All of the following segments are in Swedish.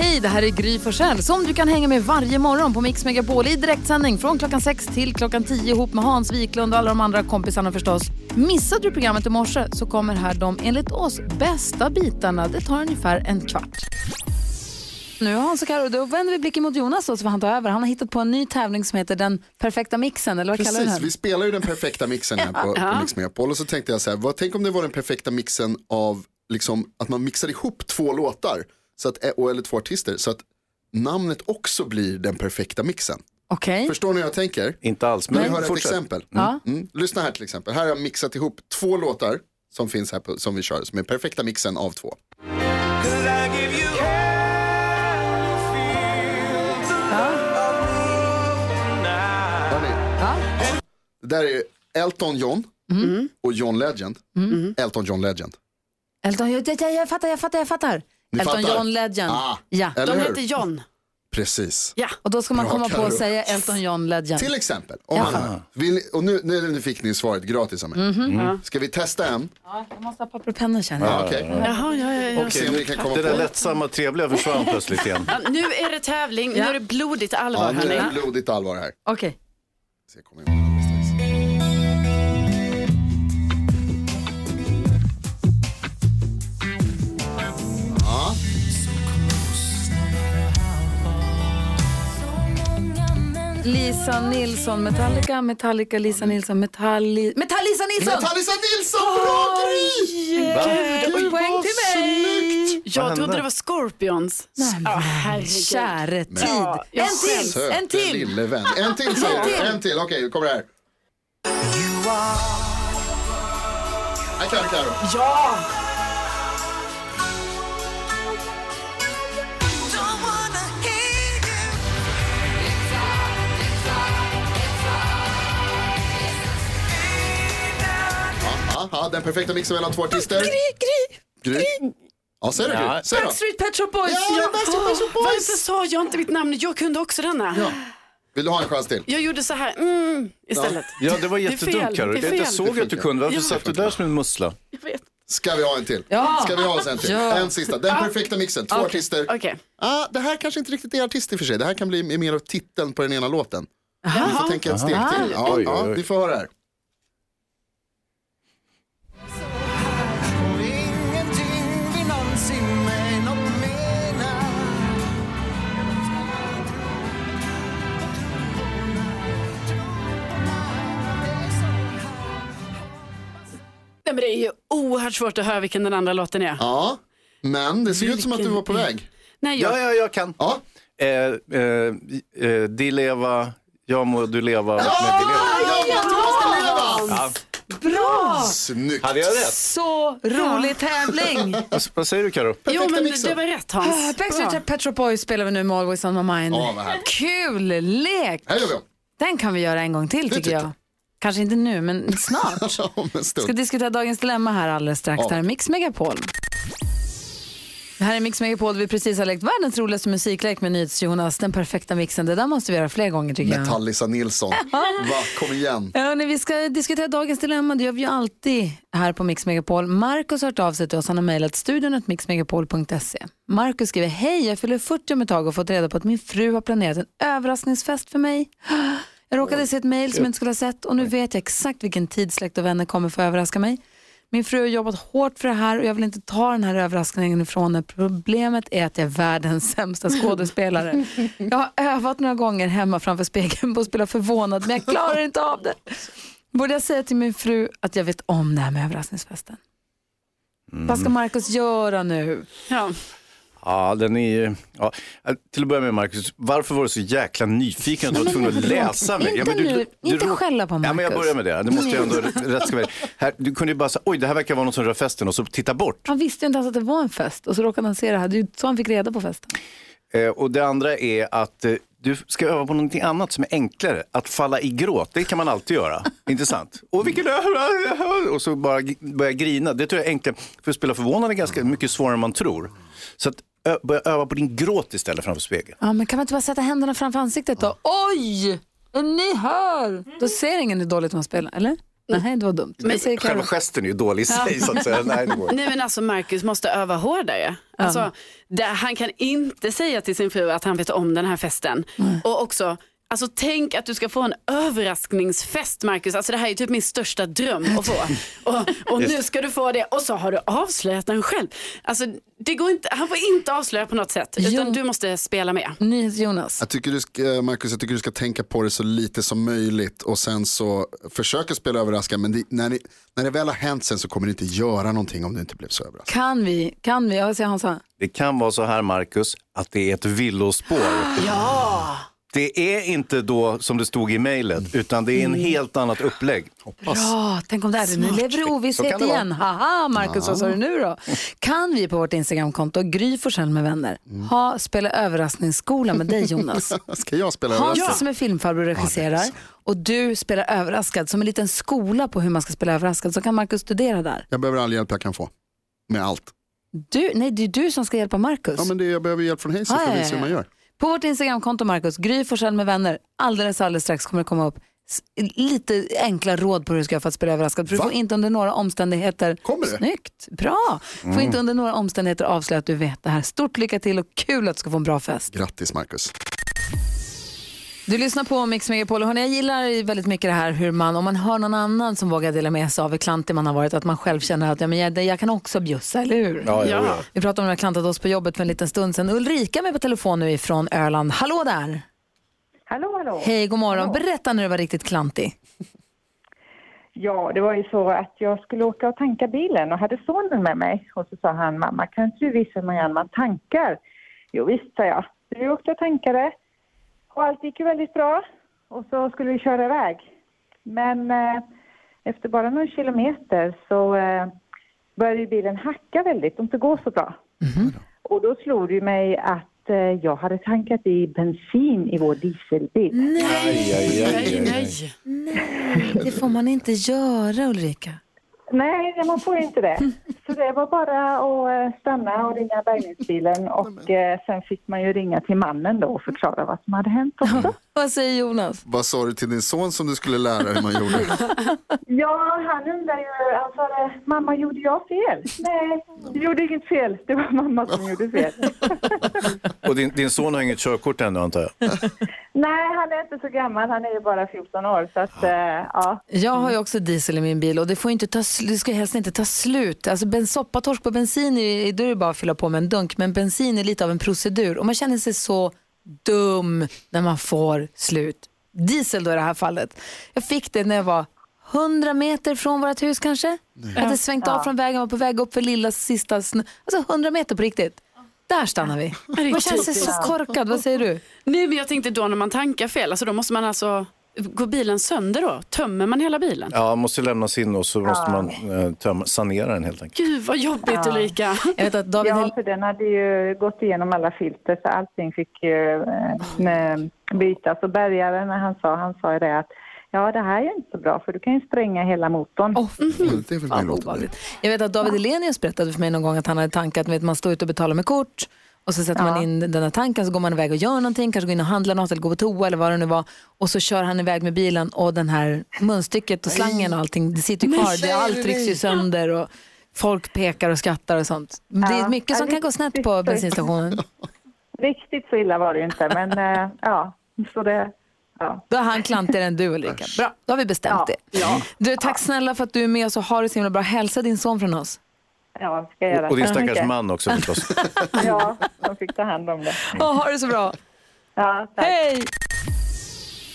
Hej, det här är Gry Forssell som du kan hänga med varje morgon på Mix Megapol i direktsändning från klockan 6 till klockan 10 ihop med Hans Wiklund och alla de andra kompisarna förstås. Missade du programmet i morse så kommer här de enligt oss bästa bitarna. Det tar ungefär en kvart. Nu har Hans och Karo, då vänder vi blicken mot Jonas då, så får han ta över. Han har hittat på en ny tävling som heter Den perfekta mixen, eller vad kallar du Precis, den? vi spelar ju den perfekta mixen här på, på Mix Megapol och så tänkte jag så här, vad, tänk om det var den perfekta mixen av liksom, att man mixar ihop två låtar så att, eh, och, eller två artister så att namnet också blir den perfekta mixen. Okej. Förstår ni hur jag tänker? Inte alls, Men vi men har ett fortsätt. exempel. Ja. Mm. Lyssna här till exempel, här har jag mixat ihop två låtar som finns här på, som vi kör, som är perfekta mixen av två. Hör ni? Det där är Elton John och John Legend. Elton John Legend. Elton, jag, jag, jag fattar, jag fattar, jag fattar. Ni Elton fattar? John Legend. Ah, ja. eller De hur? heter John. Precis. Och då ska man Bra, komma på Karo. att säga Elton John Legend. Till exempel, om man, vill, ni- och nu, nu, nu fick ni svaret gratis av mig. Ska vi testa en? Ja, jag måste ha papper och penna känner jag. Ja, okej. Jaha, Mm. ja, ja, ja. Se om ni kan komma Det där på. lättsamma och trevliga försvann plötsligt igen. Ja, Nu är det tävling, nu är det blodigt Ja, allvar. nu är hörni. det blodigt allvar här. Okej. Se, kommer jag ihåg alldeles strax. Lisa Nilsson, Metallica, Metallica, Lisa Nilsson, Metalli... Metallisa Nilsson! Natalisa Nilsson, bra grej! Gud, och poäng till mig! Vad Jag hände? trodde det var Scorpions. Ja, herregud. Käre tid. Ja, jag en till, skäms. Söte en till! lille vän. En till säger till. du. En till. Okej, nu kommer det här. Här kan du Carro. Ja, Ja, ja, Den perfekta mixen mellan två artister. Gry, Gry. Ja, säg det Ja. Gry. Säg då. Backstreet Pet Shop Boys! Ja, det är Backstreet Boys och varför sa jag inte mitt namn? Jag kunde också denna. Ja. Vill du ha en chans till? Jag gjorde så här, mm, istället. Ja, det var är jättedumt Carro. fel, det är Jag inte fel. Det såg funkar. att du kunde. Varför satt du där som en mussla? Jag vet. Ska vi ha en till? Ja. Ska vi ha oss en till? Ja. En sista. Den perfekta mixen. Två artister. Okej. Ah, det här kanske inte riktigt är artist i och för sig. Det här kan bli mer av titeln på den ena låten. Ni får tänka ett steg till. Ja, Oj, ja, oj, oj. vi får höra här. Nej, men det är ju oerhört svårt att höra vilken den andra låten är. Ja, men det ser ut som att du var på väg. Nej, jag, Ja, ja, jag kan. Ja, Eh, eh, eh, di leva, jag må du leva med di leva. ja, ja, Thomas Di Leva! Ja. Bra! Snyggt. Hade jag rätt? Så rolig tävling! Vad, vad säger du Carro? jo, men mixen. Ah, det var rätt Hans. Bra. Backstreet Pet Shop Boys spelar vi nu med Always On My Mind. Ja, vad härligt. Kul lek! Här gör vi om. Den kan vi göra en gång till tycker tycker jag. jag. Kanske inte nu, men snart. Ja, om en Vi ska stund. diskutera dagens dilemma här alldeles strax. Ja. Det här är Mix Megapol. Det här är Mix Megapol där vi precis har lekt världens roligaste musiklek med NyhetsJonas. Den perfekta mixen. Det där måste vi göra fler gånger tycker jag. Metallisa Nilsson. Va, kom igen. Ja, hörni, vi ska diskutera dagens dilemma. Det gör vi ju alltid här på Mix Megapol. Markus har hört av sig till oss. Han har mejlat studion mixmegapol.se. Markus skriver, hej jag fyller 40 om ett tag och fått reda på att min fru har planerat en överraskningsfest för mig. Jag råkade se ett mejl som jag inte skulle ha sett och nu vet jag exakt vilken tid släkt och vänner kommer för att överraska mig. Min fru har jobbat hårt för det här och jag vill inte ta den här överraskningen ifrån henne. Problemet är att jag är världens sämsta skådespelare. Jag har övat några gånger hemma framför spegeln på att spela förvånad men jag klarar inte av det. Borde jag säga till min fru att jag vet om det här med överraskningsfesten? Vad ska Markus göra nu? Ja. Ja, den är ju... Ja. Äh, Till att börja med Marcus, varför var du så jäkla nyfiken att du var tvungen att läsa mig? Inte men du, nu. Inte skälla på Ja, men jag Marcus. börjar med det. Det måste jag ändå rätt ska vara här, Du kunde ju bara säga, oj det här verkar vara någon som rör festen och så titta bort. Han visste ju inte ens att det var en fest och så råkade han se det här. Det är ju så han fick reda på festen. Eh, och det andra är att eh, du ska öva på någonting annat som är enklare. Att falla i gråt, det kan man alltid göra. Intressant. Och vilken ö- Och så bara g- börja grina. Det tror jag är enklare. För att spela förvånande är ganska mycket svårare än man tror. Så att ö- börja öva på din gråt istället framför spegeln. Ja, men kan man inte bara sätta händerna framför ansiktet då? Oj! Är ni hör? Då ser ingen hur dåligt man spelar, eller? Nej, det var dumt. Mm. Men, säger Karo. Själva gesten är ju dålig i sig. Så att säga. Nej, det går. Nej men alltså Marcus måste öva hårdare. Alltså, det, han kan inte säga till sin fru att han vet om den här festen. Och också, alltså, tänk att du ska få en överraskningsfest Marcus. Alltså, det här är typ min största dröm att få. Och, och nu ska du få det och så har du avslöjat den själv. Alltså, det går inte, han får inte avslöja på något sätt utan Jo. du måste spela med. NyhetsJonas. Jag tycker du ska, eh, Marcus, jag tycker du ska tänka på det så lite som möjligt och sen så försöka spela överraskad men det, när, det, när det väl har hänt sen så kommer du inte göra någonting om du inte blev så överraskad. Kan vi, kan vi, jag säger Hansa. Det kan vara så här, Marcus, att det är ett villospår. Ja! Det är inte då som det stod i mejlet, utan det är en helt annat upplägg. Bra, tänk om det här, nu lever du i Så ovisshet kan det vara. igen. Haha, Markus, vad sa du nu då? Kan vi på vårt Instagramkonto, Gry Forssell med vänner, Mm. ha, spela överraskningsskola med dig Jonas? Ska jag spela Hans överraskad? som är filmfarbror och regisserar och du spelar överraskad som en liten skola på hur man ska spela överraskad så kan Markus studera där. Jag behöver all hjälp jag kan få. Med allt. Du, nej, det är du som ska hjälpa Markus. Ja, men det, jag behöver hjälp från Hayes för Ja, ja, att visa hur ja. man gör. På vårt Instagramkonto Markus, Gry Forssell med vänner, alldeles alldeles strax kommer det komma upp s- lite enkla råd på hur du ska göra för att spela överraskad. För du Va? får inte under några omständigheter... Kommer det? Mm. Snyggt, bra! Får inte under några omständigheter avslöja att du vet det här. Stort lycka till och kul att du ska få en bra fest. Grattis Marcus. Du lyssnar på Mix Megapol och hörni, jag gillar väldigt mycket det här hur man, om man hör någon annan som vågar dela med sig av hur klantig man har varit, att man själv känner att ja, men jag, jag kan också bjussa, eller hur? Ja, ja, Ja. ja. Vi pratade om när vi klantat oss på jobbet för en liten stund sedan. Ulrika är med på telefon nu ifrån Öland. Hallå där! Hallå, hallå. Hej, god morgon. Berätta när du var riktigt klantig. Ja, det var ju så att jag skulle åka och tanka bilen och hade sonen med mig. Och så sa han, mamma kan inte du visa mig hur man tankar? Jo visst, sa jag. Så vi åkte och tankade och allt gick ju väldigt bra. Och så skulle vi köra iväg. Men eh, efter bara någon kilometer så eh, började ju bilen hacka väldigt och inte gå så bra. Och då slog det mig att eh, jag hade tankat i bensin i vår dieselbil. Aj, aj, aj, Nej, aj, aj. nej. Det får man inte göra, Ulrika. Nej, nej, man får inte det. Så det var bara att eh, stanna och ringa bärgningsbilen och eh, sen fick man ju ringa till mannen då och förklara vad som hade hänt också. Vad säger Jonas? Vad sa du till din son som du skulle lära hur man gjorde? Ja, han undrar ju, han sa det, mamma gjorde jag fel? Nej, du gjorde inget fel, det var mamma som gjorde fel. Och din, din son har inget körkort ännu antar jag? Nej, han är inte så gammal, han är ju bara 14 år så att eh, ja. Jag har ju också diesel i min bil och det, får ju inte ta, sl- det ska helst inte ta slut. Alltså ben, soppatorsk på bensin, är, då är det bara att fylla på med en dunk. Men bensin är lite av en procedur och man känner sig så dum när man får slut. Diesel då i det här fallet. Jag fick det när jag var 100 meter från vårt hus kanske. Jag hade svängt av från vägen, var på väg upp för lilla sista snö. Alltså 100 meter på riktigt. Där stannar vi. det är Man känner sig typiskt. så korkad, vad säger du? Nej, men jag tänkte då när man tankar fel, alltså, då måste man alltså, går bilen sönder då? Tömmer man hela bilen? Ja, man måste lämnas in och så måste man eh, tömma, sanera den helt enkelt. Gud vad jobbigt Ulrika. Jag vet att David ja, Hel- för den hade ju gått igenom alla filter så allting fick ju eh, ne- bytas och bärgaren när han sa, han sa ju det att ja det här är ju inte så bra för du kan ju spränga hela motorn. Åh, Mm, Det är väl min låt. obehagligt. Jag vet att David Elenius berättade för mig någon gång att han hade tankat, vet, man står ute och betalar med kort och så sätter man in den där tanken så går man iväg och gör någonting, kanske går in och handlar något eller går på toa eller vad det nu var och så kör han iväg med bilen och den här munstycket och slangen och allting, det sitter ju kvar, det, allt rycks ju sönder och folk pekar och skrattar och sånt. Det är Ja. mycket som Ja, kan gå snett på riktigt. bensinstationen. Riktigt så illa var det ju inte men eh, ja, så det, ja. Då är han klantigare än du Ulrika. Bra, då har vi bestämt Ja. det. Du, tack snälla för att du är med oss och har det så himla bra. Hälsa din son från oss. Ja, ska jag göra. Och din stackars Okej. man också förstås. Ja, de fick ta hand om det. Och ha det så bra. Ja, tack. Hej!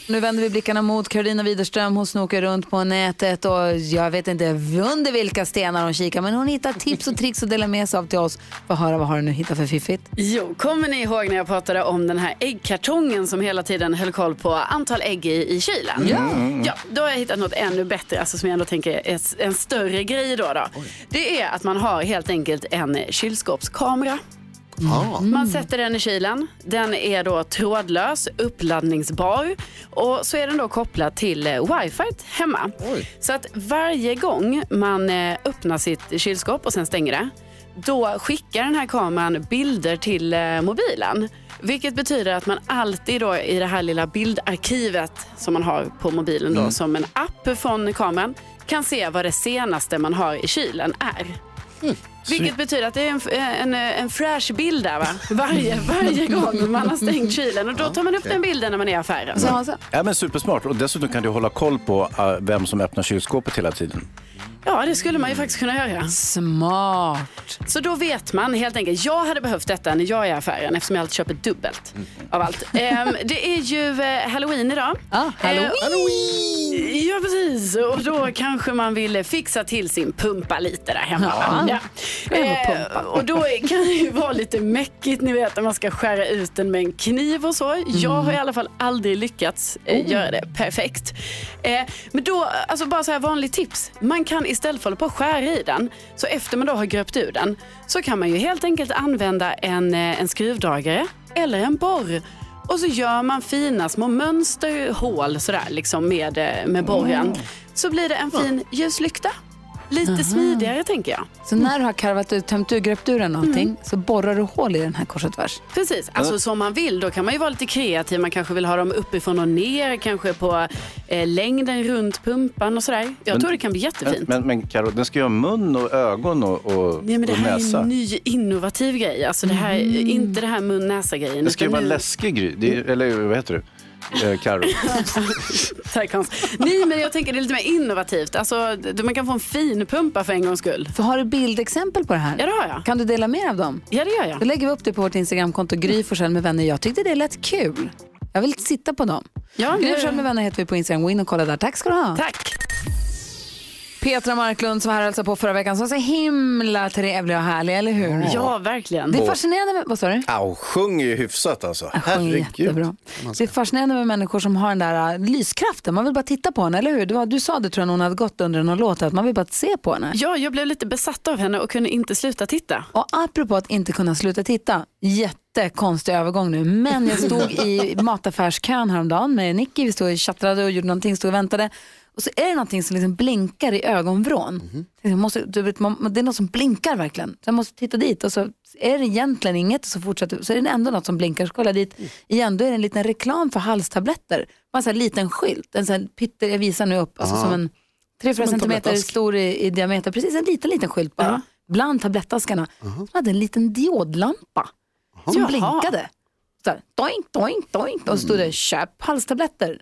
Nu vänder vi blickarna mot Karolina Widerström. Hon snokar runt på nätet och jag vet inte under vilka stenar hon kikar men hon hittar tips och tricks att dela med sig av till oss. Få höra vad har hon nu hittat för fiffigt. Jo, kommer ni ihåg när jag pratade om den här äggkartongen som hela tiden höll koll på antal ägg i, i kylen? Ja. ja. Då har jag hittat något ännu bättre, alltså som jag ändå tänker är s- en större grej då. då. Det är att man har helt enkelt en kylskåpskamera. bakom. Mm. Man sätter den i kylen. Den är då trådlös, uppladdningsbar och så är den då kopplad till eh, wifi hemma. Oj. Så att varje gång man eh, öppnar sitt kylskåp och sen stänger det, då skickar den här kameran bilder till eh, mobilen. Vilket betyder att man alltid då i det här lilla bildarkivet som man har på mobilen då, som en app från kameran kan se vad det senaste man har i kylen är. Vilket betyder att det är en, en, eh, en fräsch bild där va? Varje, varje gång man har stängt kylen och då tar man upp den bilden när man är i affären. Så, alltså, Ja, men supersmart. Och dessutom kan du hålla koll på eh, vem som öppnar kylskåpet hela tiden. Ja, det skulle man ju faktiskt kunna göra. smart. Så då vet man helt enkelt. Jag hade behövt detta när jag är i affären eftersom jag alltid köper dubbelt av allt. Ehm, det är ju eh, halloween idag. Ah, halloween. Ehm, Ja, precis. Och då kanske man vill fixa till sin pumpa lite där hemma. va? Ja. Hem och Eh, pumpa. och då kan det ju vara lite mäckigt, ni vet, när man ska skära ut den med en kniv och så. Jag har i alla fall aldrig lyckats eh, göra det perfekt. Eh, men då, alltså bara så här vanligt tips. Man kan istället för att hålla på och skära i den, så efter man då har gröpt ur den, så kan man ju helt enkelt använda en, eh, en skruvdragare eller en borr. Och så gör man fina små mönsterhål sådär liksom med, eh, med borren. Så blir det en fin ljuslykta. Lite smidigare tänker jag. Så när du har karvat ut, tömt ur, gröpt ur den någonting så borrar du hål i den här kors och tvärs. Precis, alltså som man vill. Då kan man ju vara lite kreativ. Man kanske vill ha dem uppifrån och ner, kanske på eh, längden runt pumpan och sådär. Jag tror det kan bli jättefint. Men, men Karo, den ska ju ha mun och ögon och, och, Nej, men det och här är näsa. en ny innovativ grej. Alltså det här, Inte det här mun-näsa-grejen. Det ska ju utan vara en nu- läskig gry. Det är, eller vad heter du? Eh, Karo. Tack Hans. Nej, men jag tänker det är lite mer innovativt. Alltså, d- man kan få en fin pumpa för en gångs skull. För har du bildexempel på det här? Ja, det har jag. Kan du dela mer av dem? Ja, det gör jag. Då lägger vi upp det på vårt Instagramkonto Gry Forssell med vänner. Jag tyckte det lät kul. Jag vill sitta på dem. Ja, Gry det- Forssell med vänner heter vi på Instagram. Gå in och kolla där. Tack ska du ha. Tack. Petra Marklund som var här och hälsade på förra veckan som var så himla trevlig och härlig, eller hur? Ja, verkligen. Det är fascinerande med... Vad sa du? Au, sjunger ju hyfsat alltså. Jag sjöng jättebra. Det är fascinerande med människor som har den där äh, lyskraften. Man vill bara titta på henne, eller hur? Du, var- du sa det tror jag när hon hade gått under någon låt, att man vill bara se på henne. Ja, jag blev lite besatt av henne och kunde inte sluta titta. Och apropå att inte kunna sluta titta, jättekonstig övergång nu, men jag stod i mataffärskön häromdagen med Nicky, vi stod och tjattrade och gjorde någonting, stod och väntade. Och så är det någonting som liksom blinkar i ögonvrån. Jag måste, du vet, man, det är något som blinkar verkligen. Så jag måste titta dit och så är det egentligen inget och så fortsätter så är det ändå något som blinkar. Så kollar jag dit igen, då är det en liten reklam för halstabletter. Bara en sån här liten skylt, en sån här pytte, jag visar nu upp, alltså som en tre fyra centimeter tablettask. stor i, i diameter, precis en liten, liten skylt bara. Bland tablettaskarna. Uh-huh. Som hade en liten diodlampa som Jaha. blinkade. Så här, doink, doink, doink. Och så stod det Mm. köp halstabletter.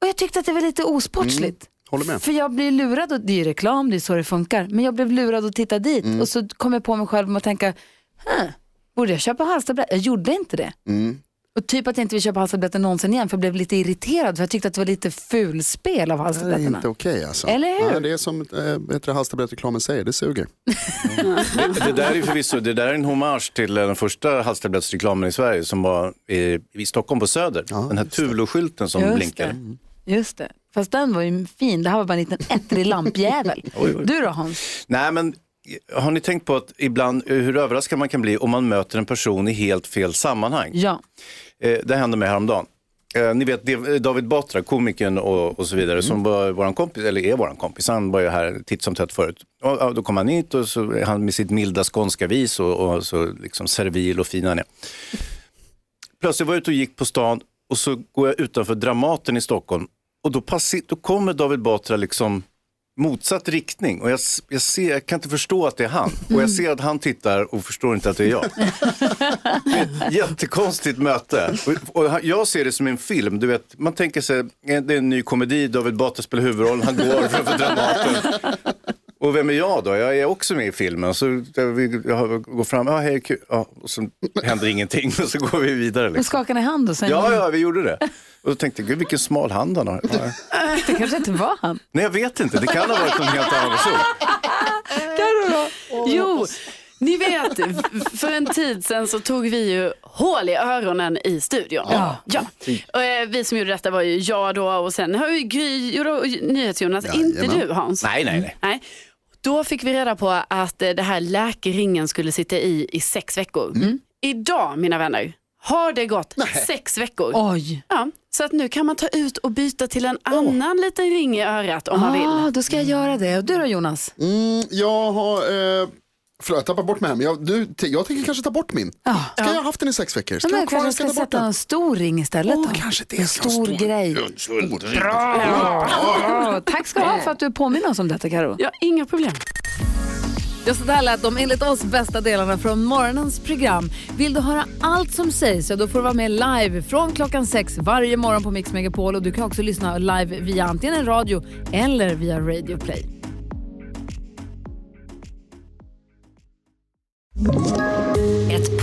Och jag tyckte att det var lite osportsligt. Mm. Håller med. För jag blir lurad, och det är ju reklam, det är så det funkar. Men jag blev lurad att titta dit Mm. och så kom jag på mig själv med att tänka, "Huh, borde jag köpa halstabletter? Jag gjorde inte det. Mm. Och typ att jag inte vill köpa halstabletter någonsin igen för jag blev lite irriterad för jag tyckte att det var lite fulspel av Det är halstabletterna. inte okej alltså. Eller hur? Nej, det är som äh, halstablettreklamen säger, det suger. Det, det där är ju förvisso det där är en hommage till eh, den första halstablettsreklamen i Sverige som var i, i Stockholm på Söder. den här Tulo-skylten som blinkade. Det. Just det. Fast den var ju fin, det här var bara en liten ettrig lampjävel. Du då Hans? Nej, men har ni tänkt på att ibland eh, hur överraskad man kan bli om man möter en person i helt fel sammanhang? Ja. Eh, det hände mig häromdagen. Eh, ni vet det- David Batra, komikern och, och så vidare, som var vår kompis, eller är vår kompis, han var ju här titt som tätt förut. Och, ja, då kom han hit och så, är han med sitt milda skånska vis och, och så liksom servil och fin han är. Plötsligt var jag ute och gick på stan och så går jag utanför Dramaten i Stockholm och då, passi- då kommer David Batra liksom motsatt riktning och jag, s- jag, ser, jag kan inte förstå att det är han. Och jag ser att han tittar och förstår inte att det är jag. Jättekonstigt möte. Och, och han- jag ser det som en film. Du vet, man tänker sig, eh, det är en ny komedi, David Batra spelar huvudrollen, han går framför Dramaten. Och vem är jag då? Jag är också med i filmen. Så jag, vi- jag går fram, ja hej, kul. Ja, och så händer ingenting och så går vi vidare. Nu Liksom. skakar ni hand och sen, Ja, ja, vi gjorde det. Och då tänkte jag, gud vilken smal hand han har. det kanske inte var han. Nej, jag vet inte. Det kan ha varit en helt annan person. Jo, ni vet, v- för en tid sedan så tog vi ju hål i öronen i studion. Ja. Och, eh, vi som gjorde detta var ju jag då och sen har ju Gry, jo då, Nyhets-Jonas, inte Jajamän. du Hans. Nej, nej, nej. Nej. Då fick vi reda på att eh, det här läkeringen skulle sitta i i sex veckor. Mm. Idag, mina vänner, har det gått sex veckor. Oj. Ja, så att nu kan man ta ut och byta till en annan liten ring i örat om man vill. Ah, då ska jag göra det. Och du då Jonas? Mm, jag har, eh, förlåt jag tappar bort mig här, men jag, nu, t- jag tänker kanske ta bort min. Ska jag ha haft den i sex veckor? Ska Ja, jag men ha jag kvar kanske den? Ska ska jag ta bort sätta den? en stor ring istället då. Åh, kanske det. En ska jag ha stor grej. Bra! Tack ska du ha för att du påminner oss om detta Karo. Ja, inga problem. Ja, så där lät de enligt oss bästa delarna från morgonens program. Vill du höra allt som sägs, ja då får du vara med live från klockan sex varje morgon på Mix Megapol. Och du kan också lyssna live via antingen radio eller via Radio Play. Ett